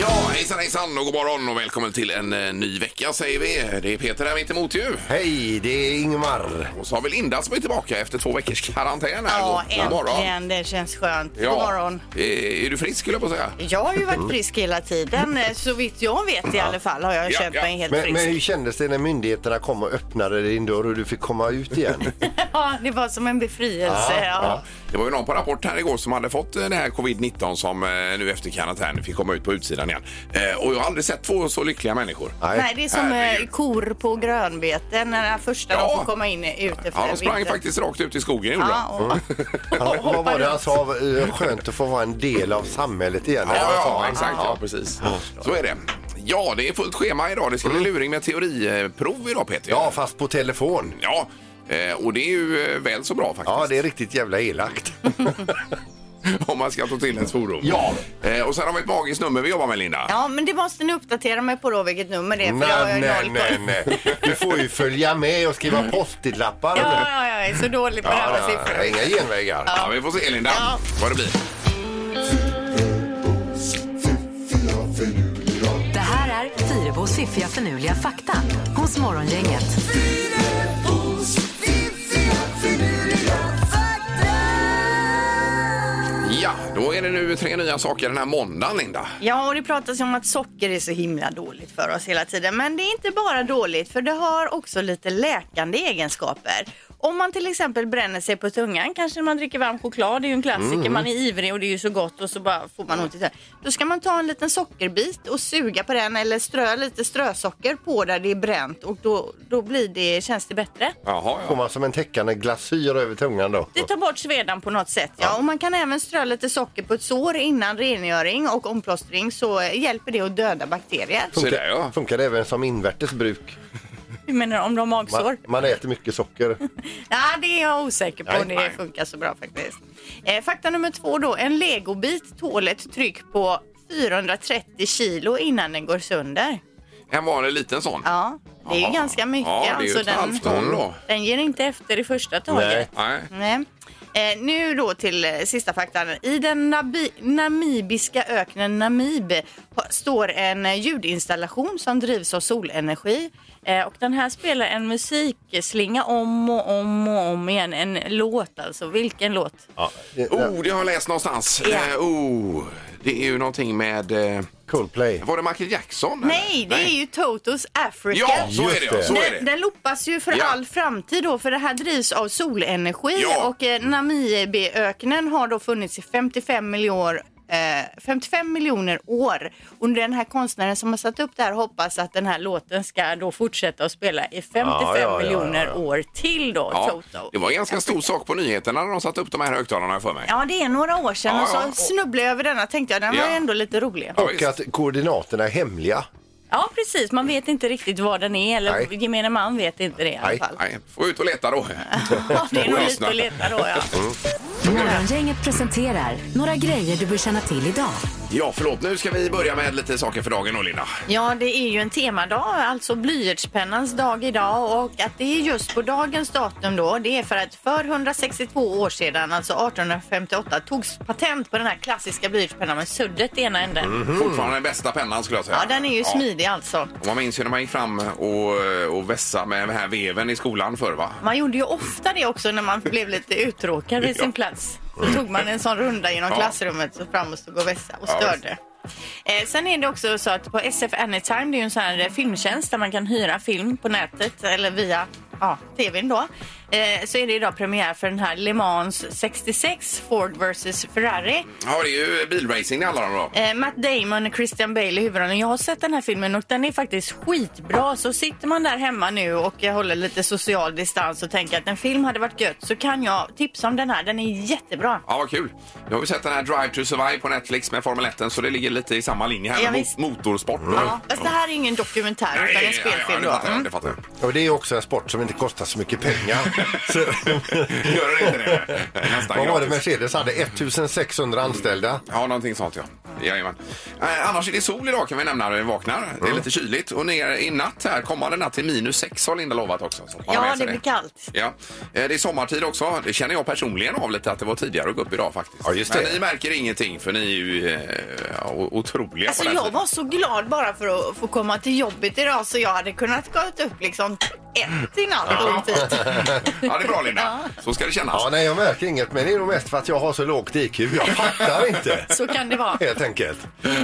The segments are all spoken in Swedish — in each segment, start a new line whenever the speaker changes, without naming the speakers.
Ja, hejsan hejsan och god morgon och välkommen till en eh, ny vecka säger vi. Det är Peter här mitt emot ju.
Hej, det är Ingmar.
Och så har vi Linda som är tillbaka efter två veckors karantän här.
Ja,
God- god
äntligen. Det känns skönt.
Ja.
God morgon.
Eh, Är du frisk skulle jag på att säga?
Jag har ju varit frisk hela tiden. eh, Så vitt jag vet i alla fall har jag
Ja,
känt
ja.
mig helt
Men, men
frisk.
hur kändes det när myndigheterna kom och öppnade din dörr och du fick komma ut igen?
Ja, det var som en befrielse. Ja, ja.
Det var ju någon på Rapport här igår som hade fått eh, det här covid-19 som eh, nu efter karantän fick komma ut på utsidan igen. Eh, Och jag har aldrig sett två så lyckliga människor.
Nej, det är som
Herregud.
eh, kor på grönbeten när den första
Ja.
de får komma in ut efter
Ja, de sprang
vintern.
faktiskt rakt ut i Mm. skogen gjorde
Ja,
de.
och,
Han, vad var det han sa? Eh, Skönt att få vara en del av samhället igen.
Ja,
eller vad sa
ja,
han?
exakt. Ja, precis. Mm. Så är det. Ja, det är fullt schema idag. Det ska bli luring med teoriprov idag Peter.
Ja, fast på telefon.
Ja, eh, och det är ju eh, väl så bra faktiskt.
Ja, det är riktigt jävla elakt.
Om man ska ta till ens fordon.
Ja.
Eh, och sen har vi ett magiskt nummer vi jobbar med Linda.
ja, men det måste ni uppdatera mig på då vilket nummer det är. För jag har
Nej,
ju
nej,
noll
nej,
koll. Mm.
nej. Du får ju följa med och skriva post-it-lappar.
Ja, ja, jag är så dålig på det här med
Ja,
siffror.
ja, inga genvägar.
Ja, vi får se Linda
Ja.
vad det blir.
Det här är Fyrabos fiffiga förnuliga fakta hos Morgongänget.
Ja, då är det nu tre nya saker den här måndagen Linda.
Ja, och det pratas ju om att socker är så himla dåligt för oss hela tiden. Men det är inte bara dåligt, för det har också lite läkande egenskaper. Om man till exempel bränner sig på tungan, kanske när man dricker varm choklad, det är ju en klassiker, man är ivrig och det är ju så gott och så bara får man ont i tungan. Då ska man ta en liten sockerbit och suga på den eller strö lite strösocker på där det är bränt och då, då blir det, känns det bättre.
Jaha,
Får man som en täckande glasyr över tungan då?
Det tar bort svedan på något sätt. Ja. Och man kan även strö lite socker på ett sår innan rengöring och omplåstring så eh, hjälper det att döda bakterier.
Så där, ja.
Funkar det även som invärtes bruk?
Du menar om de har magsår?
Man, man äter mycket socker.
Nej, det är jag osäker på om det
Nej, nej.
funkar så bra faktiskt. Eh, fakta nummer två då. En legobit tål ett tryck på 430 kilo innan den går sönder.
En vanlig liten sån.
Ja, det är ju
Jaha.
ganska mycket. Alltså,
Ja, det är ju ett halvt ton då.
den ger inte efter i första taget.
Nej.
Nej. Eh, nu då till eh, sista faktan. I den nabi- namibiska öknen Namib ha- står en eh, ljudinstallation som drivs av solenergi. Eh, och den här spelar en musikslinga om och om och om igen. En låt alltså. Vilken låt?
Oh, det har jag läst någonstans.
Ja.
Eh, oh, det är ju någonting med... Eh,
Coldplay.
var det Michael Jackson? eller?
Nej, det är ju Totos Africa.
Ja, så
Just
är det. ja, Så
Den,
är det.
den loppas ju för
Ja.
all framtid då för det här drivs av solenergi
Ja.
och eh, Namibiöknen har då funnits i 55 miljoner eh, 55 miljoner år. Och den här konstnären som har satt upp det här hoppas att den här låten ska då fortsätta att spela i 55
Ja, ja, ja, ja.
miljoner år till då,
Ja,
Toto.
det var en ganska stor sak på nyheterna när de satte upp de här högtalarna för mig.
Ja, det är några år sedan
Ja,
och
ja.
så snubblade jag över denna tänkte jag, den
Ja.
var ju ändå lite rolig.
Ja,
Och
visst.
att koordinaterna är hemliga.
Ja, precis. Man vet inte riktigt var den är eller
Nej.
gemene man vet inte det i alla
Nej.
fall.
Nej, får ut och leta då.
Ja, det är nog
Och
lite
lyssna.
att leta då ja.
Morgongänget presenterar några grejer du bör känna till idag.
Ja, förlåt. Nu ska vi börja med lite saker för dagen då, Linda.
Ja, det är ju en temadag, alltså blyertspennans dag idag och att det är just på dagens datum då, det är för att för 162 år sedan, alltså 1858, togs patent på den här klassiska blyertspennan med suddet i ena änden.
Fortfarande den bästa pennan skulle jag säga.
Mm. Ja, den är ju smidig alltså.
Och man minns ju när man gick fram och, och vässade med den här veven i skolan förr va?
Man gjorde ju ofta det också när man blev lite uttråkad vid sin plats. Då tog man en sån runda genom
Ja.
klassrummet så fram och stod och vässade och
Ja,
störde. Eh, sen är det också så att på SF Anytime, det är ju en sån här eh, filmtjänst där man kan hyra film på nätet eller via ja, tvn då, eh, så är det idag premiär för den här Le Mans 66 Ford vs Ferrari.
Ja, det är ju bilracing det handlar om då.
Eh, Matt Damon och Christian Bale i huvudrollen. Jag har sett den här filmen och den är faktiskt skitbra. Så sitter man där hemma nu och eh, håller lite social distans och tänker att en film hade varit gött så kan jag tipsa om den här. Den är jättebra.
Ja, vad kul. Nu har vi sett den här Drive to Survive på Netflix med Formel 1 så det ligger lite i samma linje här
Ja,
med
visst.
mot- motorsport.
Ja, fast det här är ingen dokumentär utan en spelfilm
det fattar
då.
jag.
Mm.
Det fattar jag.
Och det är också en sport som inte kostar så mycket pengar. så,
Gör det inte det? Det är Nästan
vad var det
gratis.
Mercedes hade? 1600 anställda.
Ja, någonting sånt ja. Jajamän. Eh, annars är det sol idag kan vi nämna när vi vaknar. Det är
Mm.
lite kyligt och ner i natt här, kommande natt till minus sex har Linda lovat också. Så man
Ja,
läser
det blir kallt.
Ja. Eh, Det är sommartid också. Det känner jag personligen av lite att det var tidigare att gå upp idag faktiskt.
Ja, just det.
Men ni märker ingenting för ni är ju eh, ja, o- otroliga
Alltså
på den
jag
tiden.
var så glad bara för att få komma till jobbet idag så jag hade kunnat gå upp liksom ett i natt och gått hit.
Ja, det är bra Linda. Så ska det kännas.
Ja, nej, jag märker inget, men det är nog mest för att jag har så lågt IQ. Jag fattar inte.
Så kan det vara.
Helt enkelt.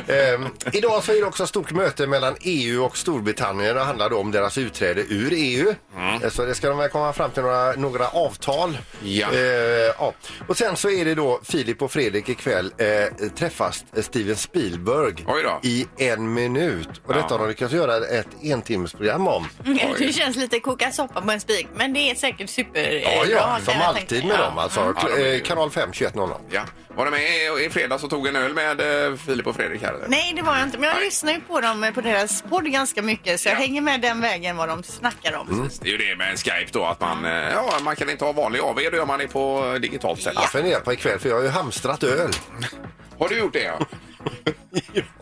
Ehm, idag så är det också ett stort möte mellan EU och Storbritannien. Det handlar då om deras utträde ur EU. Eh, Så det ska de väl komma fram till några, några avtal.
Mm. Ja.
Eh, ja. Och sen så är det då Filip och Fredrik ikväll eh, träffas Steven Spielberg
Oj då.
i en minut. Och detta
Ja.
har de lyckats göra ett entimmesprogram om.
Mm, Det känns lite koka soppa på en spik, men det är säkert superbra.
Ja, ja,
kan
som
jag
alltid
tänka.
med
Ja.
dem alltså.
Ja, de är ju-
Eh, Kanal 5, 21.00.
Ja. Var du med i, i fredags och tog en öl med eh, Filip och Fredrik här? eller?
Nej, det var jag inte. Men jag
Nej.
lyssnar ju på dem eh, på deras podd ganska mycket så jag
Ja.
hänger med den vägen vad de snackar om.
Mm.
Det är ju det med Skype då, att man, eh, ja, man kan inte ha vanlig AV, då gör man det på eh, digitalt sätt.
Jag funderar på ikväll för jag har ju hamstrat öl.
Har du gjort det? Ja?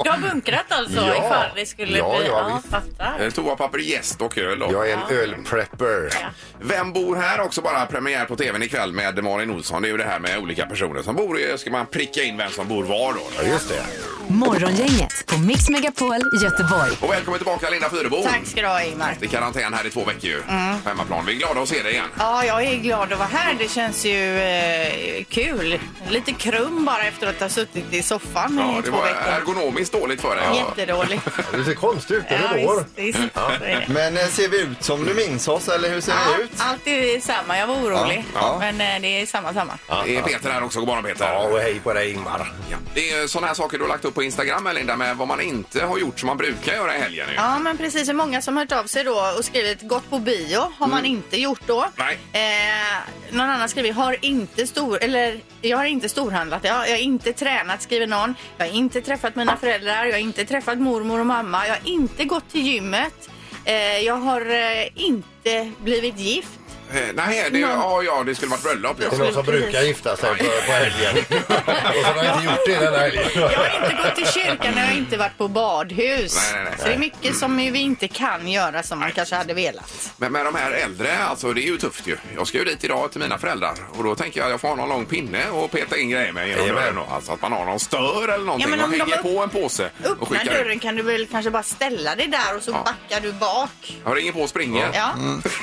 Du har bunkrat alltså
Ja.
ifall det skulle
Ja,
bli...
ja, visst.
fattar.
Eh, Toapapper, gäst och öl. Då.
Jag är en ölprepper.
Vem bor här också bara premiär på tvn ikväll med Malin Olsson. Det är ju det här med olika personer som bor. i- Ska man pricka in vem som bor var då?
Ja, just det.
Morgongänget på Mix Megapol Göteborg.
Och välkommen tillbaka Linda Fyrebo.
Tack ska du ha, Ingmar.
I karantän här i två veckor ju. På hemmaplan. Vi är glada att se dig igen.
Ja, jag är glad att vara här. Det känns ju eh, kul. Lite krum bara efter att ha suttit i soffan
Ja,
i
det
två
var
veckor.
ergonomiskt dåligt för dig.
Jättedåligt.
Du ser konstig ut, men
Ja,
det går.
visst, visst. Så är det.
Men eh, ser vi ut som du minns oss eller hur ser vi
Ja,
ut?
allt är samma. Jag var orolig.
Ja, ja.
Men eh, det är samma, samma.
Det är Peter här också. God morgon Peter.
Ja, och hej på dig Ingmar.
Ja. Det är sådana här saker du har lagt upp på Instagram här, Linda med vad man inte har gjort som man brukar göra i helgen. ju.
Ja, men precis. Det är många som har hört av sig då och skrivit gått på bio har man inte gjort då.
Mm. Nej.
Eh, någon annan skriver har inte stor eller jag har inte storhandlat. Jag, jag har inte tränat skriver någon. Jag har inte träffat mina föräldrar. Jag har inte träffat mormor och mamma. Jag har inte gått till gymmet. Eh, jag har eh, inte blivit gift.
Eh, Nej, det,
Någon-
ja, ja, det skulle varit bröllop. Ja.
Det är någon som brukar gifta sig på, på helgen. Och så har jag inte gjort det den här helgen.
Jag har inte gått till kyrkan. Jag har inte varit på badhus.
Nej, nej, nej.
Så det är mycket som vi inte kan göra som man kanske hade velat.
Men med de här äldre, alltså det är ju tufft ju. Jag ska ju dit idag till mina föräldrar och då tänker jag jag får ha någon lång pinne och peta in grejer med genom
Jajamän.
dörren. då. Alltså att man har någon stör eller någonting
Ja, men
och
om de
hänger
upp-
på en påse och
Öppna
skickar
dörren
ut.
kan du väl kanske bara ställa dig där och så
Ja. Mm.
backar du bak.
Jag ringer på och springer.
Ja.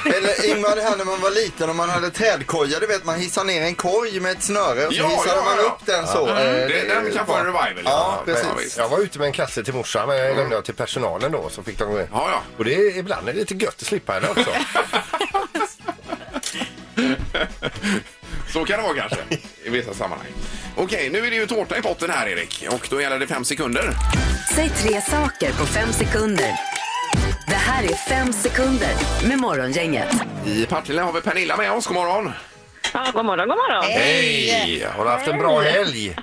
Eller Ingmar, det här när man var liten och man hade trädkoja, du vet man hissar ner en korg med ett snöre och så
Ja,
hissade
ja,
man
ja.
upp den så. Eh,
Det,
är
den kan få
bra.
en revival.
Ja, precis.
visst.
Jag var ute med en kasse till morsan, men jag lämnade jag till personalen då. Så fick de...
Ja, ja.
Och det är, ibland är det lite gött att slippa henne också.
Så kan det vara kanske i vissa sammanhang. Okej, nu är det ju tårta i potten här Erik och då gäller det fem sekunder.
Säg tre saker på fem sekunder. Det här är fem sekunder med Morgongänget.
I Partille har vi Pernilla med oss. God morgon!
Ja, god morgon, god morgon.
Hej! Har du haft en bra helg?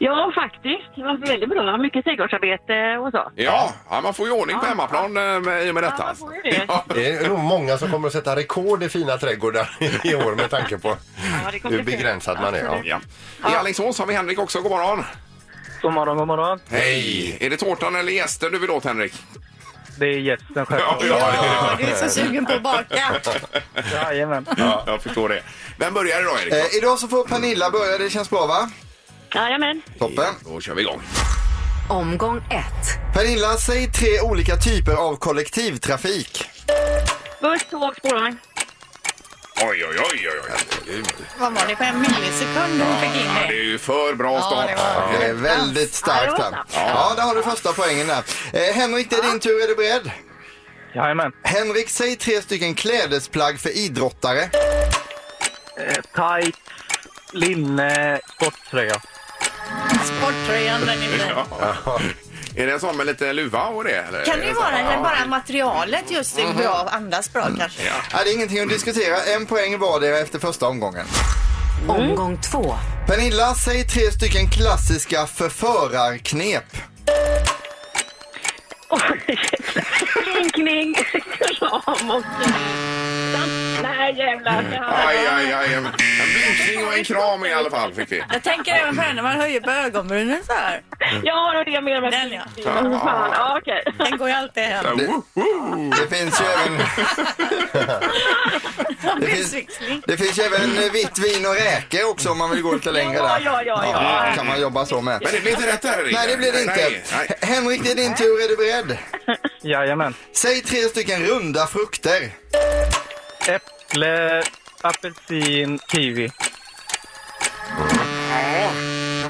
Ja, faktiskt. Det var väldigt bra. Mycket trädgårdsarbete och så.
Ja, ja man får ju ordning på hemmaplan eh, med- i och med detta.
Ja, man
alltså.
får ju det.
Ja.
Det är nog många som kommer att sätta rekord i fina trädgårdar i år med tanke på
det kommer
hur
bli kul.
begränsad man är. Ja.
Ja. I Alingsås har vi Henrik också. God morgon!
God morgon, god morgon.
Hej! Är det tårtan eller gästen du vill åt, Henrik?
Det är gästen själv.
Ja, du är så sugen på att baka.
Jajamän.
ja, jag förstår det. Vem börjar idag, Erik?
Eh, idag så får Pernilla börja, det känns bra va?
Jajamän.
Toppen.
Då kör vi igång.
Omgång ett.
Pernilla, säg tre olika typer av kollektivtrafik.
Buss, tåg, spårvagn.
Oj, oj, oj, oj, oj.
Vad var det på en millisekund hon fick in
Ja, det
det?
är ju för bra start.
det
Ja,
var-
Det är väldigt starkt
Ja,
här.
det var snabbt.
Ja, där har du första poängen där. Eh, Henrik, det är din tur, är du beredd?
Jajamän.
Henrik, säg tre stycken klädesplagg för idrottare.
Eh, Tights, linne, sporttröja.
Sporttröjan, den är fin.
Ja. Är det en sån med lite luva och det? Eller?
Kan det ju vara
Ja.
eller bara materialet just är bra, andas bra kanske.
Mhm. Mm. Ja.
Nej, det är ingenting att diskutera. En poäng vardera efter första omgången.
Omgång två.
Pernilla, säg tre stycken klassiska förförarknep.
Oj, Kling, kling, kram och... Nej, jävlar. det här-
Aj, aj, aj. En blinkning och en kram i alla fall fick vi.
Jag tänker även på den när man höjer på ögonbrynen så här.
Mm.
Ja, det är det jag menar med
Den, ja.
Fan, ja, okej.
Den går ju alltid hem.
Så, woo, woo.
Det finns ju även... det, finns,
Busväxling.
det finns ju även eh, vitt vin och räkor också om man vill gå lite längre
Ja,
där.
ja, ja, ja.
kan man jobba så med.
Men det blir inte rätt där, Rickard.
Nej, det blir det
Nej,
inte.
nej.
Henrik, det är din tur. Är du beredd?
Jajamän.
Säg tre stycken runda frukter.
Äpple, apelsin, kiwi.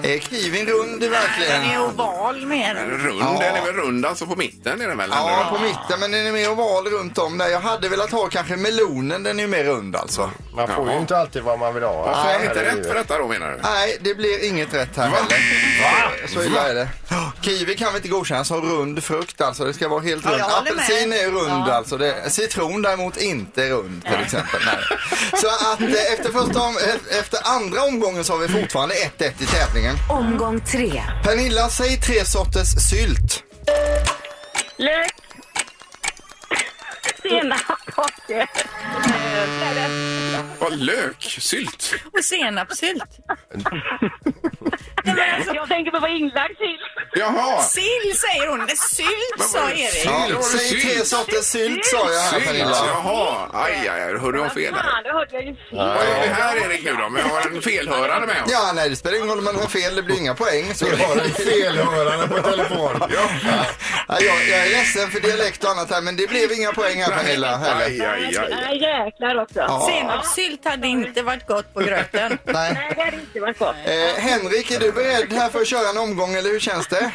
Är kivin rund
Den är
verkligen?
oval med den.
Rund,
Ja.
den är väl rund alltså på mitten är den väl? eller?
Ja, på mitten, men den är mer oval runt om där. Jag hade velat ha kanske melonen, den är ju mer rund alltså.
Man får
Ja.
ju inte alltid vad man vill ha.
Varför är
Här
det inte
i
rätt
livet.
för detta då menar du?
Nej, det blir inget rätt här heller. Så illa är det. Kiwi kan vi inte godkänna som rund frukt alltså. Det ska vara helt
Ja,
rund.
jag håller med.
Apelsin är rund
Ja.
alltså. Det, citron däremot inte rund till exempel. Nej. Så att eh, efter, första om, eh, efter andra omgången så har vi fortfarande 1-1 i tävlingen.
Omgång tre.
Pernilla, säg tre sorters sylt.
Lök. Senap och... eh,
Ja, löksylt.
Och senapssylt. alltså,
Jag tänker på vad inlagd sill.
Jaha!
Sill säger hon. Sylt sa Erik.
Ja, det var det
säg tre
sylt.
sorters sylt sa jag här
Sylt,
Pernilla.
jaha. Aj, aj, aj. Hörde jag fel där?
Fan, det hörde jag ju fel.
Vad gör vi här Erik nu då? Men jag har en felhörare med oss.
Ja, nej det spelar ingen roll om man har fel, det blir inga poäng. Så är
Vi
det.
har en felhörare på telefon.
Ja, jag, jag är ledsen för dialekt och annat här men det blev inga poäng här Pernilla heller.
Aj, aj, aj.
Nej, jäklar också.
Senapssylt hade inte varit gott på gröten.
Nej.
Nej, det hade inte varit gott.
Eh, Henrik, är du beredd här för att köra en omgång eller hur känns det?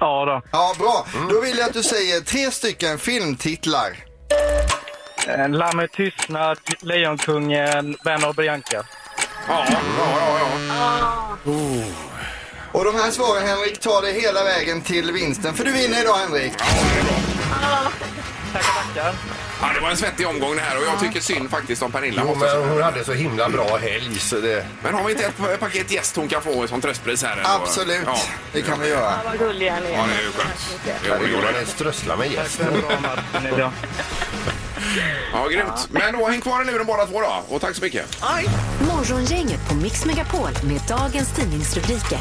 Ja då.
Ja, bra. Då vill jag att du säger tre stycken filmtitlar.
Eh, Lammet tystnad, Lejonkungen, Benna och Bianca.
Ja, ja, ja. ja.
Och de här svaren Henrik tar dig hela vägen till vinsten. För du vinner idag Henrik.
Tackar, tackar.
Ja, det var en svettig omgång det här och jag tycker synd faktiskt om Pernilla.
Jo,
måste jag säga.
men hon hade så himla bra helg så det...
Men har vi inte ett paket gäst hon kan få som tröstpris här? ändå?
Absolut,
Ja,
det kan vi göra.
Fan, vad gulliga ni
ja
är.
det är ju skönt. Jo,
Herregud,
det gjorde
han
det.
ens strösslar med
Tack
gäst.
för en bra match idag.
Ja, grymt. Men då, häng kvar i luren båda två då. Och tack så mycket.
Morgongänget på Mix Megapol med dagens tidningsrubriker.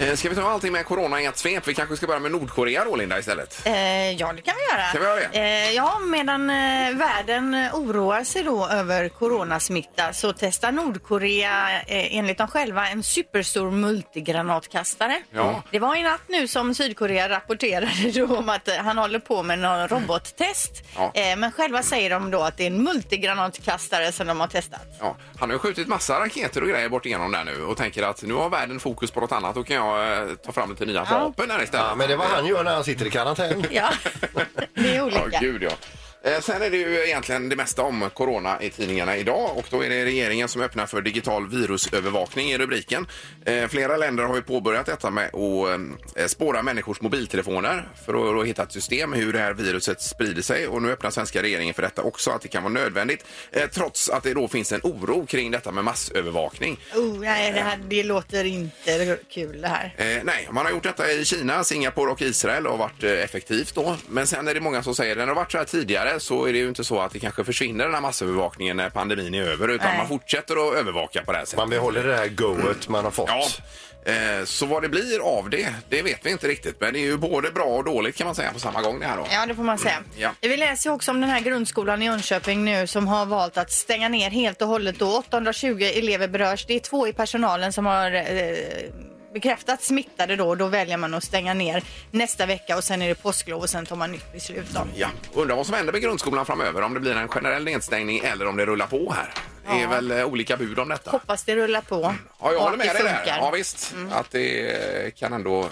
Eh, Ska vi ta allting med corona i ett svep? Vi kanske ska börja med Nordkorea då, Linda, istället.
Eh, ja, det kan vi göra.
Kan vi göra det?
Eh, ja, medan eh, världen eh, oroar sig då över coronasmitta så testar Nordkorea eh, enligt dem själva en superstor multigranatkastare.
Ja.
Det var i natt nu som Sydkorea rapporterade då om att eh, han håller på med någon robottest.
Ja.
Eh, men själva säger de då att det är en multigranatkastare som de har testat.
Ja, han har ju skjutit massa raketer och grejer bort igenom där nu och tänker att nu har världen fokus på något annat. Då kan jag eh, ta fram lite nya
Ja.
vapen här istället.
Ja, men det var han gör när han sitter i karantän.
Ja, det är olika.
Ja, gud ja. Eh, Sen är det ju egentligen det mesta om corona i tidningarna idag och då är det regeringen som öppnar för digital virusövervakning i rubriken. Eh, Flera länder har ju påbörjat detta med att eh, spåra människors mobiltelefoner för att då hitta ett system hur det här viruset sprider sig och nu öppnar svenska regeringen för detta också att det kan vara nödvändigt eh, trots att det då finns en oro kring detta med massövervakning.
Oh, nej, det, här, det låter inte kul det här.
Eh, nej, man har gjort detta i Kina, Singapore och Israel och varit eh, effektivt då. Men sen är det många som säger att det har varit så här tidigare så är det ju inte så att det kanske försvinner den här massövervakningen när pandemin är över utan
Nej.
man fortsätter att övervaka på det här sättet.
Man behåller det här goet man har fått.
Ja, eh, så vad det blir av det, det vet vi inte riktigt. Men det är ju både bra och dåligt kan man säga på samma gång det här då.
Ja, det får man säga.
ja.
Vi läser ju också om den här grundskolan i Jönköping nu som har valt att stänga ner helt och hållet. Då. 820 elever berörs. Det är två i personalen som har eh, bekräftat smittade då. Då väljer man att stänga ner nästa vecka och sen är det påsklov och sen tar man nytt beslut. Då.
Ja, undrar vad som händer med grundskolan framöver, om det blir en generell nedstängning eller om det rullar på här. Det är väl eh, olika bud om detta.
Hoppas det rullar på.
Ja, jag
och
håller
att
med dig där.
funkar. Mm.
Ja, visst. Att det eh, kan ändå eh,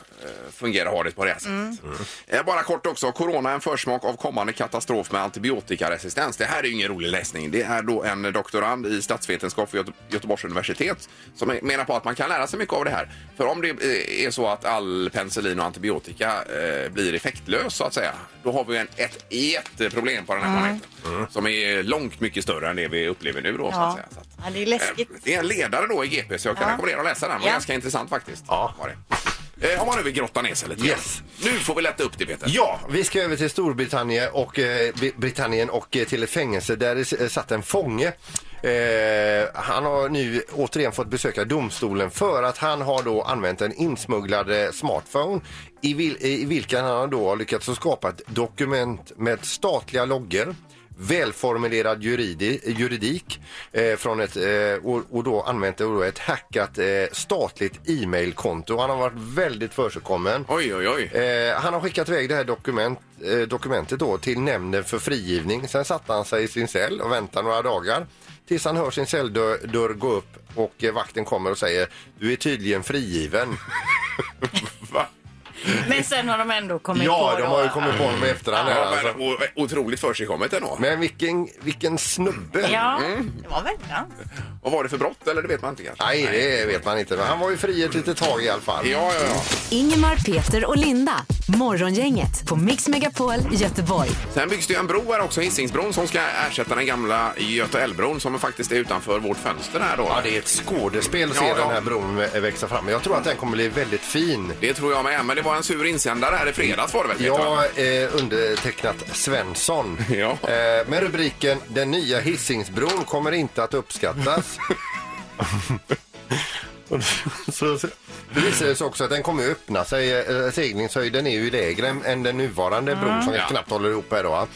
fungera och ha det på det här
Mm.
sättet. Eh, Bara kort också. Corona är en försmak av kommande katastrof med antibiotikaresistens. Det här är ju ingen rolig läsning. Det är då en doktorand i statsvetenskap vid Göte- Göteborgs universitet som menar på att man kan lära sig mycket av det här. För om det eh, är så att all penicillin och antibiotika eh, blir effektlös så att säga, då har vi en, ett jätteproblem på den här
Mm.
planeten som är långt mycket större än det vi upplever nu då så att
Ja.
säga. Så att, Eh,
ja, det är läskigt.
det är en ledare då i GP så jag kan rekommendera att läsa den. Det var
Ja.
ganska intressant faktiskt.
Ja.
Var det. Eh, om man nu vill grotta ner sig lite.
Yes.
Nu får vi lätta upp det Peter.
Ja, vi ska över till Storbritannien och, eh, Bri- Britannien och eh, till ett fängelse där det s- eh, satt en fånge. Eh, han har nu återigen fått besöka domstolen för att han har då använt en insmugglad eh, smartphone i, vil, i vilken han då har lyckats att skapa ett dokument med statliga loggor välformulerad juridi, juridik eh, från ett, eh, och, och då använt då ett hackat eh, statligt e-mailkonto. Han har varit väldigt försigkommen.
Oj, oj, oj.
Eh, han har skickat iväg det här dokument, eh, dokumentet då till nämnden för frigivning. Sen satte han sig i sin cell och väntade några dagar tills han hör sin celldörr dörr gå upp och eh, vakten kommer och säger du är tydligen frigiven.
Va?
Men sen har de ändå kommit
ja,
på
de
då.
har ju kommit på honom i efterhand. Här,
Ja, men,
alltså.
o- otroligt försigkommet ändå.
Men vilken, vilken snubbe!
Ja,
Mm.
det var väl bra.
Vad var det för brott? Eller det vet man inte kanske.
Nej, det vet man inte. Men han var ju fri ett litet tag i alla fall.
Ja, ja, ja.
Ingemar, Peter och Linda. Morgongänget på Mix Megapol Göteborg.
Sen byggs det ju en bro här också, Hisingsbron, som ska ersätta den gamla Göta älvbron som faktiskt är utanför vårt fönster här då.
Ja, det är ett skådespel att se
Ja, ja.
den här bron vä- växa fram. Jag tror att den kommer bli väldigt fin.
Det tror jag med, men det var en sur insändare här i fredags var det väl? Peter, va?
Ja, eh, undertecknat Svensson.
Ja.
Eh, med rubriken Den nya Hisingsbron kommer inte att uppskattas. så, så. Det visade sig också att den kommer att öppna sig. Eh, seglingshöjden är ju lägre än, än den nuvarande bron som
Ja.
knappt håller ihop här då. va?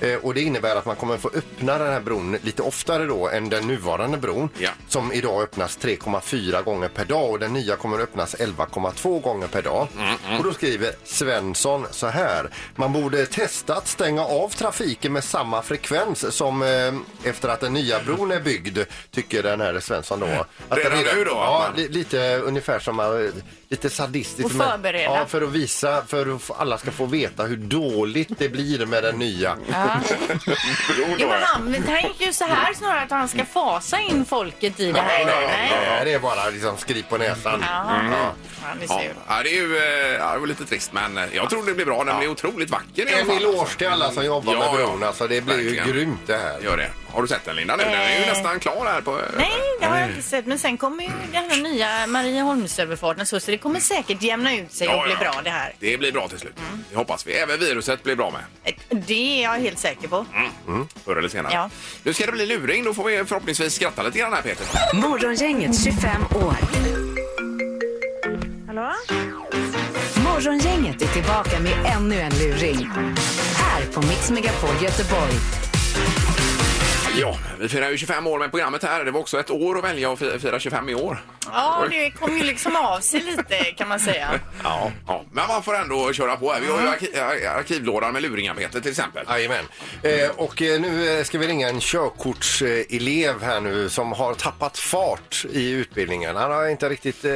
Eh, och det innebär att man kommer få öppna den här bron lite oftare då än den nuvarande bron
Ja.
som idag öppnas 3,4 gånger per dag och den nya kommer att öppnas 11,2 gånger per dag.
Mm,
Och då skriver Svensson så här. Man borde testa att stänga av trafiken med samma frekvens som eh, efter att den nya bron är byggd, tycker den här Svensson då. Att
Redan
den
nu då?
Ja, li, lite ungefär som eh, lite sadistiskt.
Och
men-
förbereda.
Ja, för att visa, för att alla ska få veta hur dåligt det blir med den nya.
Jo,
Jo,
då.
men han, han gick ju så här snarare att han ska fasa in folket i det här.
Nej, nej,
Nej.
nej. Det är bara liksom skri på näsan.
Ja.
Mm.
Ja, ni
Ja,
ser.
ja, det är ju eh, ja, det var lite trist, men eh, jag tror det blir bra. Den blir otroligt vacker i alla
En
fall.
eloge till alla som jobbar
Ja,
med
ja.
bron. Alltså, det blir
Verkligen.
ju grymt det här.
Gör det. Har du sett den, Linda? Nu? Den är ju
Eh.
nästan klar här. På,
Nej, det har jag inte sett. Men sen kommer ju den här nya Marieholmsöverfarten så, så det kommer säkert jämna ut sig
Ja,
och bli
ja.
bra det här. Mm.
Det blir bra till slut. Det hoppas vi. Även viruset blir bra med.
Det är jag helt säker på.
Mm. Förr eller senare.
Ja.
Nu ska det bli luring. Då får vi förhoppningsvis skratta lite grann här, Peter.
Morgongänget 25 år.
Hallå?
Morgongänget är tillbaka med ännu en luring. Här på Mix Megapol Göteborg.
Ja, vi firar ju 25 år med programmet här. Det var också ett år att välja att fi- fira 25 i år.
Ja, det kom ju liksom av sig lite kan man säga.
Ja. Mm. Men man får ändå köra på här. Vi har ju arki- arkivlådan med luringar, Peter, till exempel.
Jajamän. Eh, och eh, nu eh, ska vi ringa en körkortselev här nu som har tappat fart i utbildningen. Han har inte riktigt eh,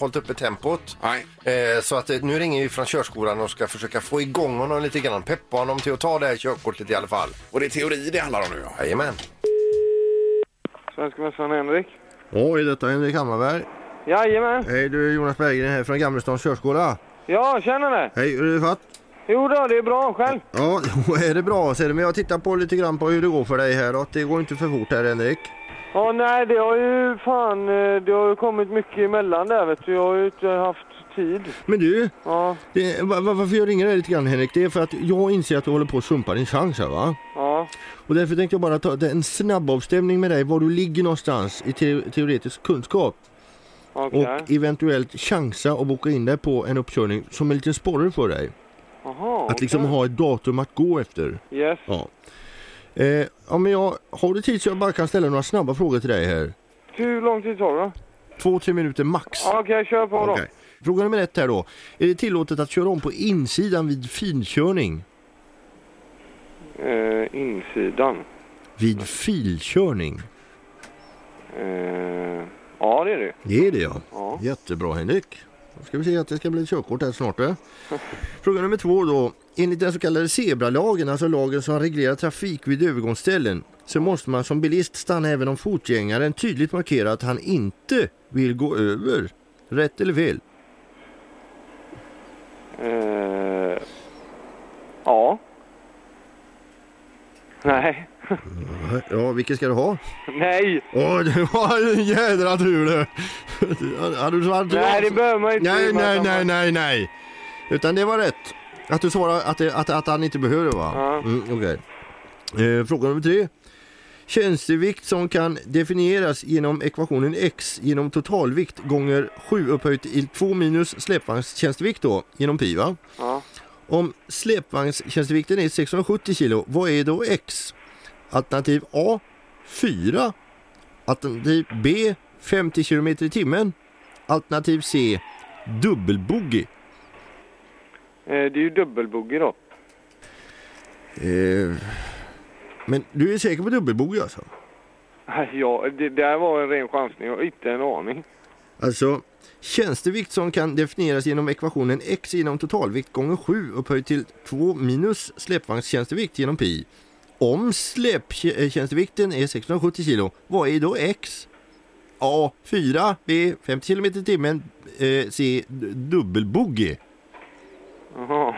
hållit uppe tempot.
Nej.
Eh, så att eh, nu ringer vi från körskolan och ska försöka få igång honom lite grann. Peppa honom till att ta det här körkortet i alla fall.
Och det är teori det handlar om nu. Ja.
Jajamän.
Svenska mästaren Henrik.
Oj, detta är Henrik Hammarberg.
Jajamän.
Hej, du är Jonas Berggren här från Gammelstans körskola.
Ja, känner det.
Hej, hur är det fatt?
Jo då, det är bra. Själv?
Ja, är det bra ser du. Men jag tittar på lite grann på hur det går för dig här. Att det går inte för fort här Henrik.
Ja, nej, det har ju fan... eh, Det har ju kommit mycket emellan där, vet du. Jag har ju inte haft tid.
Men du,
Ja,
det, va- va- varför jag ringer dig lite grann Henrik, det är för att jag inser att du håller på att sumpa din chans här va?
ja.
Och därför tänkte jag bara ta en snabb avstämning med dig, var du ligger någonstans i te- teoretisk kunskap.
Okej.
Och eventuellt chansa och boka in dig på en uppkörning som en liten sporre för dig.
Jaha,
Att liksom
okej.
ha ett datum att gå efter.
Yes.
Ja. Eh, ja, men jag, har du tid så jag bara kan ställa några snabba frågor till dig här?
Hur lång tid tar det då?
Två, tre minuter max.
Ja, Okej, kör på då.
Okej. Fråga nummer ett här då. Är det tillåtet att köra om på insidan vid finkörning?
Eh, insidan.
Vid filkörning?
Eh, ja, det är det.
Det är det ja. Jättebra Henrik. Då ska vi se att det ska bli ett körkort här snart. Du. Fråga nummer två då. Enligt den så kallade zebralagen, alltså lagen som reglerar trafik vid övergångsställen, så måste man som bilist stanna även om fotgängaren tydligt markerar att han inte vill gå över. Rätt eller fel?
Eh, ja. Nej.
Ja, vilken ska du ha?
Nej. Eh,
Åh, det var en jädra tur du! Hade du svarat
Nej, det behöver man inte.
Nej,
Man-
nej,
man-
nej, nej, nej! Utan det var rätt. Att du svarade att, det, att, att han inte behöver va?
Ja.
Mm, Okej. Eh, fråga nummer tre. Tjänstevikt som kan definieras genom ekvationen x genom totalvikt gånger 7 upphöjt till 2 minus släpvagnstjänstevikt då genom pi va?
Ja.
Om släpvagnstjänstevikten är 670 kilo, vad är då X? Alternativ A 4. Alternativ B 50 km i timmen. Alternativ C dubbelboogie.
Eh, det är ju dubbelbogey då.
Eh, men du är säker på dubbelboogie alltså?
Nej, Ja, det där var en ren chansning. Jag har inte en aning.
Alltså tjänstevikt som kan definieras genom ekvationen x genom totalvikt gånger 7 upphöjt till 2 minus släpvagnstjänstevikt genom pi. Om släptjänstevikten är 670 kilo, vad är då x? A 4, B 50 km i timmen, eh, C d- dubbelboogie.
Jaha.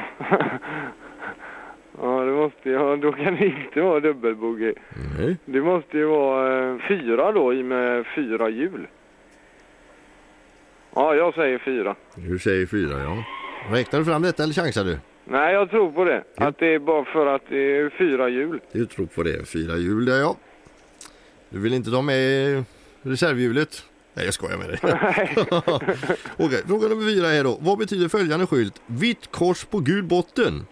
Ja, det måste ju... ja, Då kan det inte vara dubbelbogey.
Nej.
Det måste ju vara eh, fyra då, i och med fyra hjul. Ja, jag säger fyra.
Du säger 4 ja. Räknar du fram detta eller chansar du?
Nej, jag tror på det. Att det är bara för att det är fyra hjul.
Du tror på det, fyra hjul där ja. Du vill inte ta med reservhjulet? Nej, jag skojar med dig. Okej, fråga nummer fyra är då. Vad betyder följande skylt? Vitt kors på gul botten.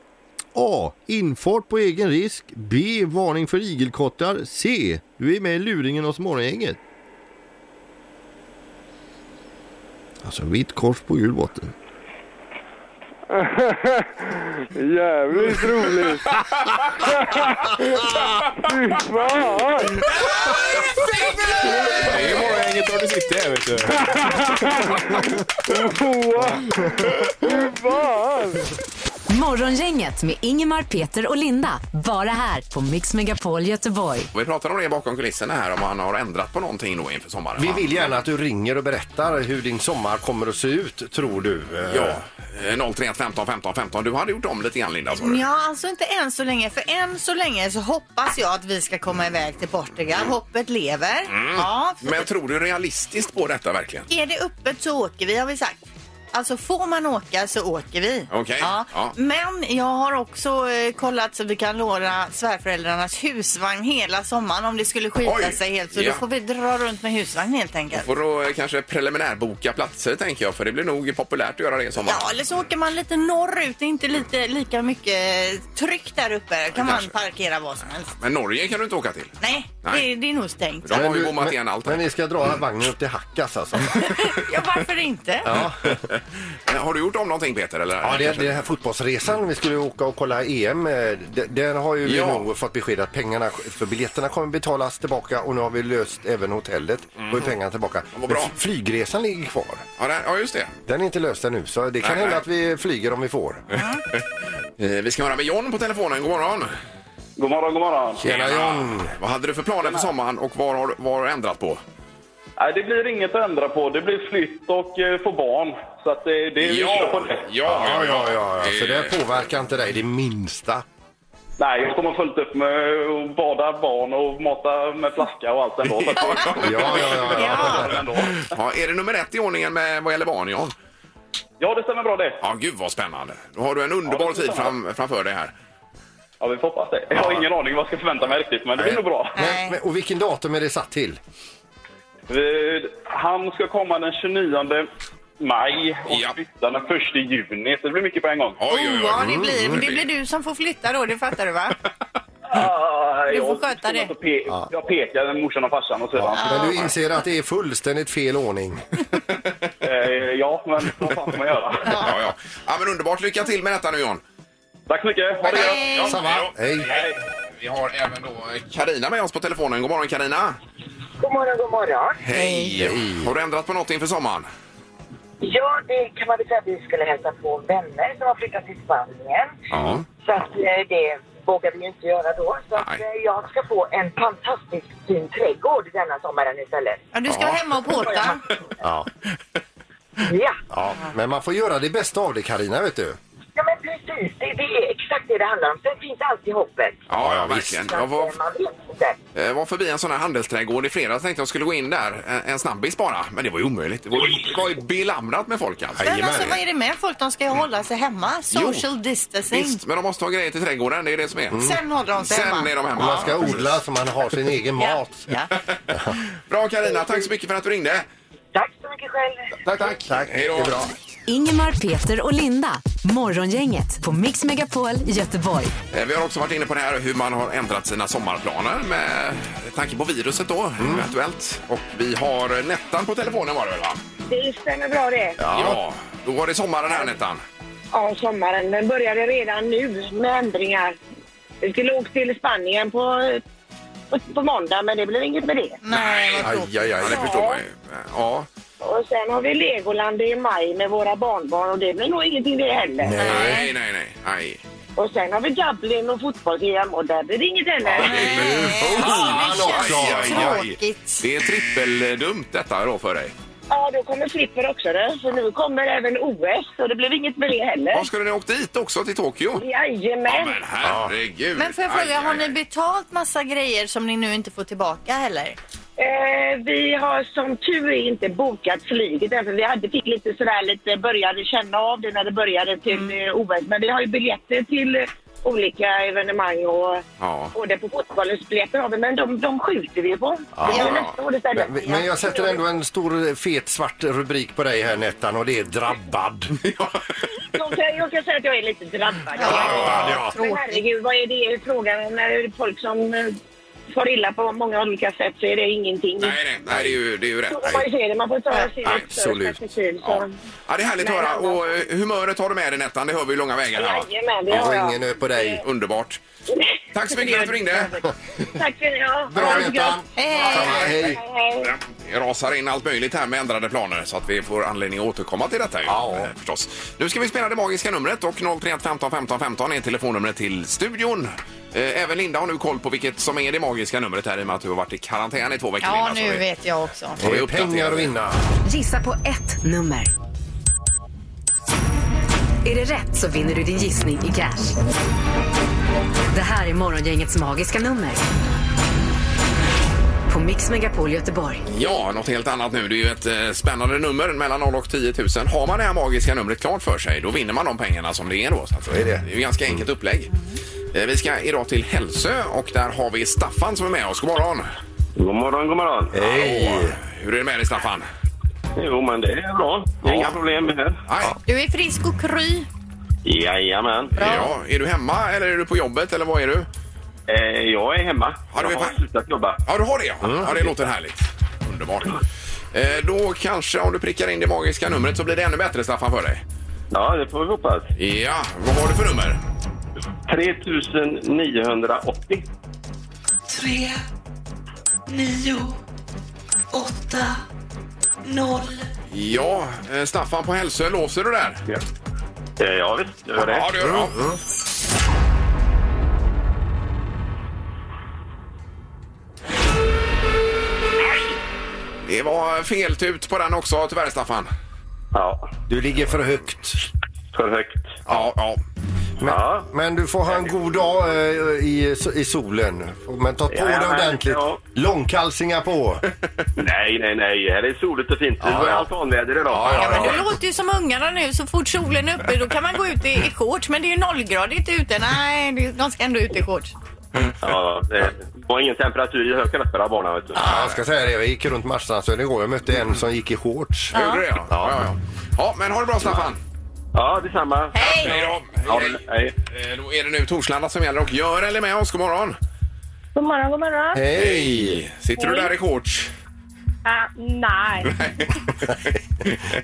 A. Infart på egen risk. B. Varning för igelkottar. C. Du är med i luringen hos morgongänget. Alltså vitt kors på gul botten.
Jävligt roligt! Fy fan!
Det är ju morgongänget där du sitter här, vet du.
Fy fan!
Morgongänget med Ingemar, Peter och Linda. Bara här på Mix Megapol Göteborg.
Och Vi pratar om det bakom kulisserna här, om han har ändrat på någonting då inför sommaren.
Vi
va?
vill gärna att du ringer och berättar hur din sommar kommer att se ut, tror du. Eh,
Ja, eh, 031 15 15 15. Du hade gjort om lite grann Linda, sa du.
Ja, alltså inte än så länge. För än så länge så hoppas jag att vi ska komma iväg till Portugal. Hoppet lever.
Mm.
Ja, för-
Men tror du realistiskt på detta verkligen?
Är det öppet så åker vi har vi sagt. Alltså får man åka så åker vi.
Okej,
Ja.
ja.
Men jag har också eh, kollat så vi kan låna svärföräldrarnas husvagn hela sommaren om det skulle skita
Oj,
sig helt. Så
ja.
då får vi dra runt med husvagn helt enkelt.
Får då eh, kanske preliminärboka platser tänker jag, för det blir nog populärt att göra det i sommar.
Ja, eller så åker man lite norrut. Det är inte lite, lika mycket eh, tryck där uppe. kan man
kanske.
parkera vad som helst.
Men Norge kan du inte åka till.
Nej,
Nej.
Det, det är nog stängt.
De har ju
du-
bommat igen allt.
Men ni ska dra vagnen upp till Hackas alltså.
Ja, varför inte?
Eh, Har du gjort om någonting Peter? Eller?
Ja, det, det här fotbollsresan vi skulle åka och kolla EM, eh, de- den har ju vi
Ja.
nog fått besked att pengarna för biljetterna kommer betalas tillbaka och nu har vi löst även hotellet. Då är pengarna tillbaka.
Mm. Vad bra.
Men Flygresan ligger kvar.
Ja, där- ja, just det.
Den är inte löst ännu så det kan
Nej,
hända
nej.
att vi flyger om vi får.
Eh, Vi ska höra med John på telefonen. God morgon!
God morgon, god morgon.
Tjena John!
Vad hade du för planer för sommaren och vad har, vad har du ändrat på?
Nej, det blir inget att ändra på. Det blir flytt och eh, få barn. Så att det, det vi kör på det.
Ja, ja, ja.
Eh.
Så det påverkar inte dig det minsta.
Nej, jag kommer fullt upp med att bada barn och mata med flaska och allt ändå. Så att det-
Ja, ja, ja. ja.
Ja. ändå.
Ja, är det nummer ett i ordningen med vad gäller barn, John?
ja, det stämmer bra det.
Ja, gud vad spännande. Då har du en underbar
Ja, det är
tid fram, framför dig här.
Ja, vi får hoppas det. Jag har ingen aning vad jag ska förvänta mig riktigt, men det blir nog bra.
Men, men, och vilken datum är det satt till?
Vi- Han ska komma den 29 maj och
Ja.
flytta den 1 juni, så det blir mycket på en gång.
Oj, oj, oj.
Oh, ja, det blir,
Mm.
det blir du som får flytta då, det fattar du va?
Ah,
Du får
jag-
sköta det.
Jag, pe- jag pekar morsan och farsan och sedan.
Men du inser att det är fullständigt fel ordning.
Eh, ja, men vad fan ska man göra?
Ja, ja. ja, men underbart. Lycka till med detta nu, John.
Tack så mycket. Ha det gött.
Ja,
Samma.
hej då.
Hej.
eh, Vi har även då Karina med oss på telefonen. God morgon, Karina.
God morgon, god morgon.
Hej! Har du ändrat på något inför sommaren?
Ja, det kan man väl säga att vi skulle hälsa på vänner som har flyttat till Spanien.
Ja.
Så att eh, det vågade vi ju inte göra då. Så att
eh,
jag ska få en fantastisk fin trädgård denna sommaren istället.
Ja, du ska Ja. hemma och påta.
Ja.
Ja.
Men man får göra det bästa av det Karina vet du.
Ja, men precis. Det, det är exakt det det handlar om. Sen finns alltid hoppet.
Ja, ja verkligen. Jag var,
Man vet inte.
eh, var förbi en sån här handelsträdgård i fredags tänkte jag skulle gå in där. En, en snabbis bara. Men det var ju omöjligt. Det var, ju- det var ju belamrat med folk alltså.
Men alltså vad är det med folk? De ska ju hålla sig hemma. Social distancing.
Mm. Visst, men de måste ha grejer till trädgården. Det är det som är.
Mm. Sen håller de sig
Sen
hemma.
är de hemma.
Man ska odla så man har sin egen mat.
Bra Karina, tack så mycket för att du ringde.
Tack så mycket själv.
Tack, tack. Hej då.
Ingemar, Peter och Linda. Morgongänget på Mix Megapol Göteborg.
Eh, Vi har också varit inne på det här hur man har ändrat sina sommarplaner med tanke på viruset då, eventuellt. Och vi har Nettan på telefonen var det väl va?
Det stämmer bra det.
ja. Då var det sommaren här Nettan.
Ja, sommaren. Den började redan nu med ändringar. Vi skulle åka till Spanien på, på, på måndag, men det blev inget med det.
Nej, aj, aj, aj, det förstår man ju. Ja.
Och sen har vi Legoland i maj med våra barnbarn och det blir nog ingenting det heller.
Nej, nej, nej. nej.
Och sen har vi Dublin och fotbolls-EM och där blir det inget heller.
Fan också!
känns
Aj, aj, aj. Det är trippeldumt detta då för dig.
Ja, då kommer Flipper också då. För nu kommer även OS och det blev inget med det heller.
Ja, ska ni åka dit också, till Tokyo?
Jajamän!
Men herregud!
Men får jag
Aj,
fråga,
aj,
har
aj.
ni betalt massa grejer som ni nu inte får tillbaka heller?
Eh, vi har som tur är inte bokat flyget än, för vi hade, fick lite sådär lite, började känna av det när det började till mm. OS. Men vi har ju biljetter till eh, olika evenemang och
Ja.
både på fotbollens biljetter har vi, men de, de skjuter vi på. Det är nästa år istället.
Men, men jag sätter ändå en stor fet svart rubrik på dig här Nettan och det är drabbad.
Jag kan, jag kan säga att jag är lite drabbad.
Ja, ja.
Men herregud, vad är det frågan om? När det är folk som eh, far illa på många olika sätt så är det ingenting.
Nej, nej, nej, det är ju, det är ju rätt.
Så får man ju se det. Man får ta det i ett större
Absolut.
perspektiv. Så.
Ja. Ja, det är härligt att höra. Och eh, humöret har du med dig Nettan, det hör vi ju långa vägar. här, va?
Jajamän, det har jag.
ö på dig. Underbart. Tack så mycket för att du ringde.
Tack för det.
Bra, Göran. Hej.
Ja, Det rasar in allt möjligt här med ändrade planer så att vi får anledning att återkomma till detta. Ju, eh, förstås. Nu ska vi spela det magiska numret och 031 15 15 15 är telefonnumret till studion. Eh, Även Linda har nu koll på vilket som är det magiska numret här i och med att du har varit i karantän i två veckor.
Ja,
Linda, så
nu
vi-
vet jag också.
så vi uppdaterar
pengar att
det.
vinna.
Gissa på ett nummer. Är det rätt så vinner du din gissning i cash. Det här är Morgongängets magiska nummer. På Mix Megapol Göteborg.
Ja, något helt annat nu. Det är ju ett eh, spännande nummer mellan 0 och 10 000. Har man det här magiska numret klart för sig, då vinner man de pengarna som det är då. Så att, det är ju ganska enkelt upplägg. Eh, Vi ska idag till Hälsö och där har vi Staffan som är med oss. God morgon!
God morgon, god morgon.
Hej! Hur är det med dig Staffan?
Jo, men det är bra. Det är Inga problem med det.
Du är frisk och kry.
Jajamän.
Ja, är du hemma eller är du på jobbet eller vad är du?
Eh, jag är hemma. jag har slutat jobba.
Ja, du har det ja. ja det låter härligt. Underbart. Eh, Då kanske om du prickar in det magiska numret så blir det ännu bättre Staffan för dig.
Ja, det får vi hoppas.
Ja, vad har du för nummer?
3980.
3, 9, 8, 0.
Ja, eh, Staffan på Hälsö, låser du där? Ja,
ja visst, gör det.
Ja, det Mm, gör du. Ja. mm. Det var fel tut på den också tyvärr Staffan.
Ja.
Du ligger för högt.
För högt.
Ja, ja.
Men, men du får ha en god dag eh, i, i solen. Men ta på
Ja,
dig
men,
ordentligt.
ja.
Långkalsingar på.
Nej, nej, nej. Här är soligt och fint. Det var altanväder idag.
Du låter ju som ungarna nu. Så fort solen är uppe då kan man gå ut i, i shorts. Men det är ju nollgradigt ute. Nej, det- de ska ändå ut i shorts.
Ja, det var ingen temperatur i höken för alla barnen. Vet du.
Ja, jag ska säga det. Jag gick runt Marstrandsön igår. Jag mötte en som gick i shorts.
Ja. Gjorde du det, ja? Ja, ja, ja. Ja, men ha det bra Staffan.
Ja, detsamma.
Hej!
Hej då. Hej,
hej.
Eh, Då är det nu Torslanda som gäller och Görel är med oss. God morgon.
God morgon, god morgon.
Hej! Sitter du
Hej.
där i shorts?
Ah, nej.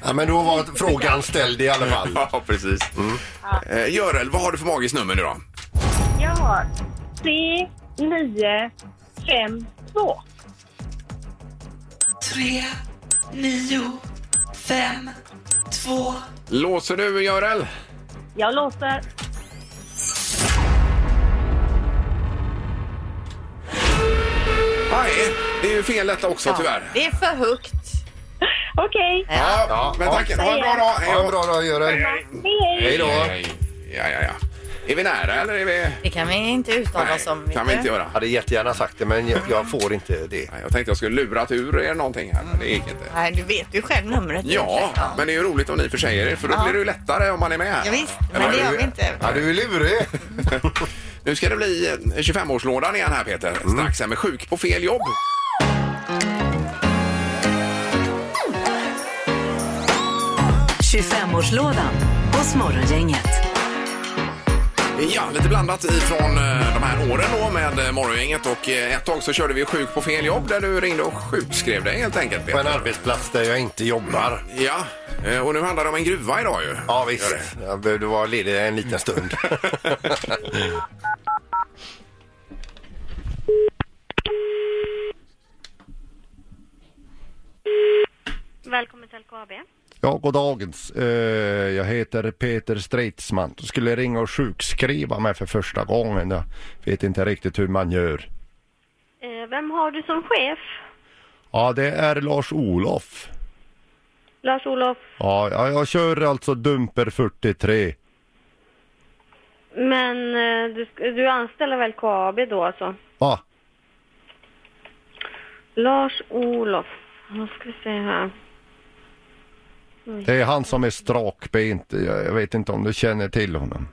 Ja, men då var frågan ställd i alla fall.
Ja, precis. Eh, Görel, vad har du för magiskt nummer nu då?
Jag har 3, 9, 5, 2.
tre, nio, fem, två.
Låser du, Görel?
Jag låser.
Nej, det är ju fel detta också tyvärr.
Det är för högt.
Okej.
Ja, men tack. Ha en bra dag. Hej
Ha en bra dag, Görel.
Hej då. Ja, ja, ja. Är vi nära eller är vi...
Det kan vi inte uttala oss om.
kan vi inte göra.
Jag hade jättegärna sagt det, men jag, jag får inte det.
Jag tänkte jag skulle lurat ur er någonting här, men det gick inte.
Nej, du vet ju själv numret.
Ja, men det är ju roligt om ni försäger er för då
Ja.
blir det ju lättare om man är med.
Ja, visst,
Eller
men det
hur?
gör vi inte.
Ja, du är lurig.
nu ska det bli eh, 25-årslådan igen här Peter. Strax här med Sjuk på fel jobb.
det. 25-årslådan hos Morgongänget.
Ja, lite blandat ifrån eh, de här åren då med eh, Morgongänget och eh, ett tag så körde vi Sjuk på fel jobb där du ringde och sjukskrev dig helt enkelt
På
Peter.
en arbetsplats där jag inte jobbar.
Ja, eh, och nu handlar det om en gruva idag ju.
Ja, visst. Jag behövde vara ledig en liten stund.
Välkommen till LKAB.
Ja, god dagens. Eh, Jag heter Peter Stridsman. Jag skulle ringa och sjukskriva mig för första gången. Jag vet inte riktigt hur man gör.
Eh, Vem har du som chef?
Ja, det är Lars-Olof.
Lars-Olof.
Ja, ja, jag kör alltså Dumper 43.
Men eh, du, sk- du anställer väl LKAB då alltså?
Ja,
Lars-Olof. Nu ska vi se här.
det är han som är strakbent. Jag jag vet inte om du känner till honom.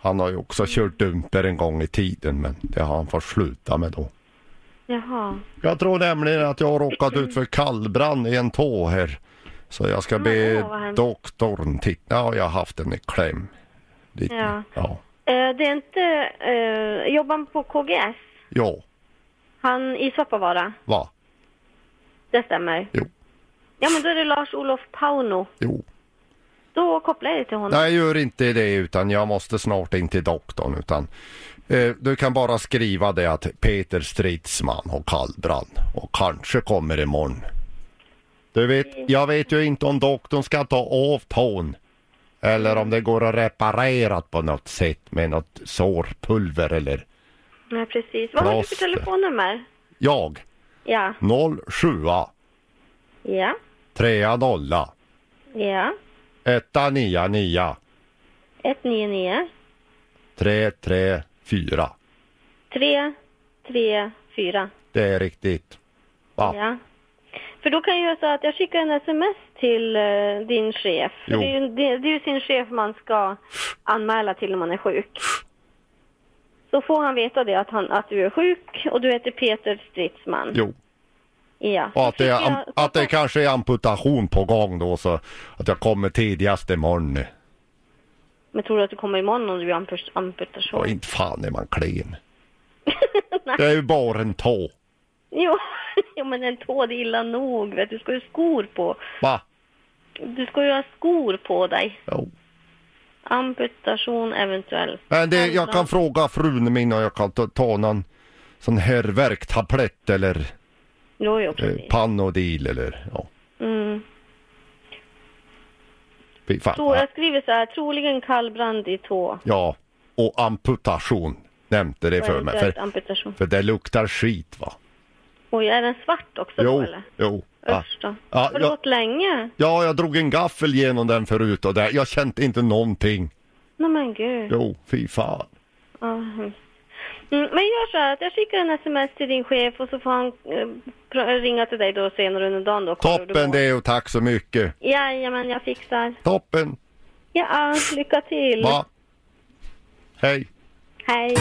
Han har ju också kört Dumper en gång i tiden, men det har han fått sluta med då.
Jaha.
Jag tror nämligen att jag har råkat ut för kallbrand i en tå här. Så jag ska be
Åh, vad hemskt.
doktorn titta. Ja, jag har haft en i kläm. Det,
Ja.
ja.
Eh, Det är inte... Eh, jobbar han på KGS?
Ja,
Han i Svappavaara?
va?
Det stämmer.
Jo.
Ja, men då är det Lars-Olof Pauno.
Jo.
Då kopplar jag dig till honom.
Nej, gör inte det utan jag måste snart in till doktorn utan eh, du kan bara skriva det att Peter Stridsman har kallbrand och kanske kommer imorgon. Du vet, jag vet ju inte om doktorn ska ta av tån eller om det går att reparera på något sätt med något sårpulver eller
Nej, precis. Vad har du för
Plåster.
telefonnummer?
jag
Ja.
07
Ja.
30
Ja.
199
199
334.
3 3 4.
Det är riktigt. Va?
Ja. För då kan jag göra så att jag skickar en sms till eh, din chef. För
Jo.
det, är ju, det, det är ju sin chef man ska anmäla till om man är sjuk. Så får han veta det att, han, att du är sjuk och du heter Peter Stridsman.
Jo.
Ja.
Och att det,
Då fick
är,
jag-
att det kanske är amputation på gång då så att jag kommer tidigast imorgon.
Men tror du att du kommer imorgon om du gör ampus- amputation?
Och inte fan är man klen. det är ju bara en tå.
Jo. jo, men en tå det är illa nog. Vet du. du ska ju ha skor på.
Va?
Du ska ju ha skor på dig.
Jo.
Amputation eventuellt.
Men det, jag kan fråga frun min och jag kan ta, ta någon sån här värktablett eller
Jo, jo,
eh,
precis.
Panodil eller ja.
Mm.
Fy fan.
Tro, jag skriver så här, troligen kallbrand i tå.
Ja. Och amputation nämnde det
Och
för mig.
eventuellt
För,
amputation.
för det luktar skit va?
Oj, är den svart också då
Jo,
eller?
jo. va.
Usch då.
Ja,
Har du
ja.
gått länge?
Ja, jag drog en gaffel genom den förut och där. jag kände inte någonting.
Nej men gud.
Jo, fy fan.
Ja, hemskt. Mm, men gör så här att jag skickar en sms till din chef och så får han eh, pr- ringa till dig då senare under dagen då. kollar hur du
Toppen
mår.
det och tack så mycket.
Jajamän, jag fixar.
Toppen.
Ja, lycka till.
Va? Hej.
Hej.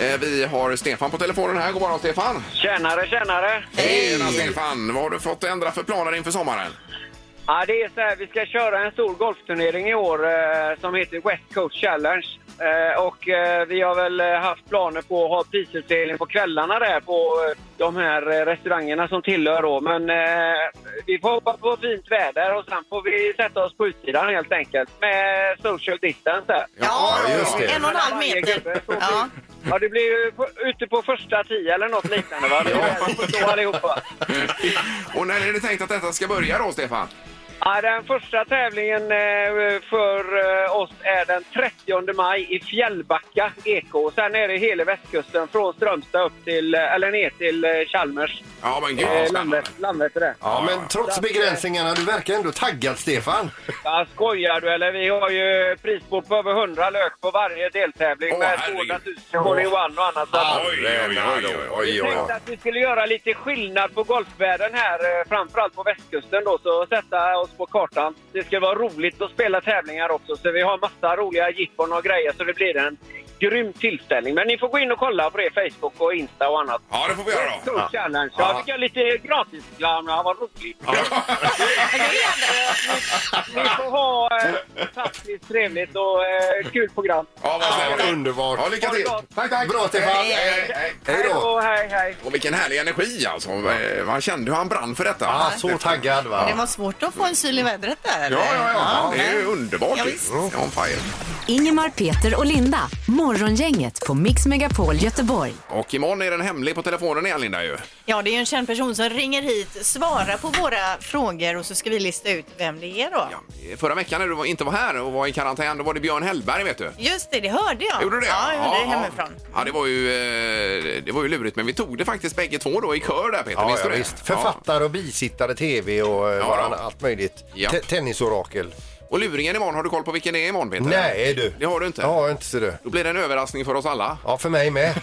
Eh, Vi har Stefan på telefonen här. God morgon Stefan!
Tjänare, tjänare!
Hej Stefan! Vad har du fått ändra för planer inför sommaren?
Ja, det är så här, vi ska köra en stor golfturnering i år eh, som heter West Coast Challenge. Eh, och eh, vi har väl eh, haft planer på att ha prisutdelning på kvällarna där på eh, de här eh, restaurangerna som tillhör då. Men eh, vi får hoppas på fint väder och sen får vi sätta oss på utsidan helt enkelt med social distance där.
Ja,
just det.
En och en halv meter. Ja.
Ja, det blir ju på, ute på första tio eller något liknande va? Det är väl förstå allihopa.
Och när är det tänkt att detta ska börja då, Stefan?
Ja, den första tävlingen eh, för eh, oss är den 30 maj i Fjällbacka EK. Sen är det hela västkusten från Strömstad upp till, eh, eller ner till eh, Chalmers. Eh,
Ja, men
gud, vad spännande.
landet är det.
Ja, men trots
Så att, eh,
begränsningarna, du verkar ändå taggad Stefan.
Ja, skojar du eller? Vi har ju prisbord på över 100 lök på varje deltävling med 200 000 både i one och annat. Så att- Vi tänkte att vi skulle göra lite skillnad på golfvärlden här, eh, framförallt på västkusten då, så sätta oss på kartan. Det ska vara roligt att spela tävlingar också, så vi har massa roliga jippon och grejer, så det blir en grym tillställning. Men ni får gå in och kolla på det, Facebook och Insta och annat.
Ja, det får vi göra då.
Stor challenge. Ja, fick jag lite gratis ja, vad roligt. Ni får ha eh, fantastiskt trevligt och eh, kul program.
Ja, vad snällt.
underbart.
Ja, lycka till. Tack, tack.
Bra Stefan.
Hej, hej, hej.
Hej då.
hej, hej.
Och vilken härlig energi alltså. Eh, Man kände hur han brann för detta.
Ja, Ah, så taggad va.
Det var svårt att få en syl i vädret där.
Ja,
eller?
ja, ja. det är ju
men-
underbart.
Ja,
ju.
visst.
Ja, On fire.
Ingemar, Peter och Linda. Morgongänget på Mix Megapol Göteborg.
Och imorgon är den hemlig på telefonen igen, Linda ju.
Ja, det är ju en känd person som ringer hit, svarar på våra frågor och så ska vi lista ut vem det är då.
Förra veckan när du var- inte var här och var i karantän, då var det Björn Hellberg, vet du.
Just det, det hörde jag.
Gjorde du det?
Ja, jag hörde det
Ja, ja.
hemifrån.
Ja, det var ju, eh, det var ju lurigt, men vi tog det faktiskt bägge två då i kör där, Peter.
Ja,
Minns
ja,
du det?
visst. Författare och bisittare, tv och eh,
Ja,
varann-
ja.
allt möjligt.
Ja.
Te- Tennisorakel.
Och luringen imorgon, har du koll på vilken det är imorgon, Peter?
Nej du.
Det har du inte?
Ja, inte så du.
Då blir det en överraskning för oss alla.
Ja, för mig med.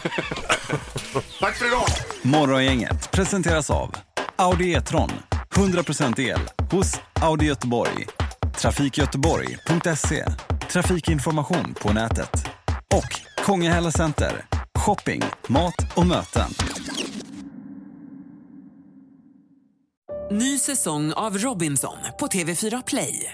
Tack för idag!
Morgongänget presenteras av Audi E-tron. 100% el hos Audi Göteborg. Trafikgöteborg.se. Trafikinformation på nätet. Och Kongahälla Center. Shopping, mat och möten.
Ny säsong av Robinson på TV4 Play.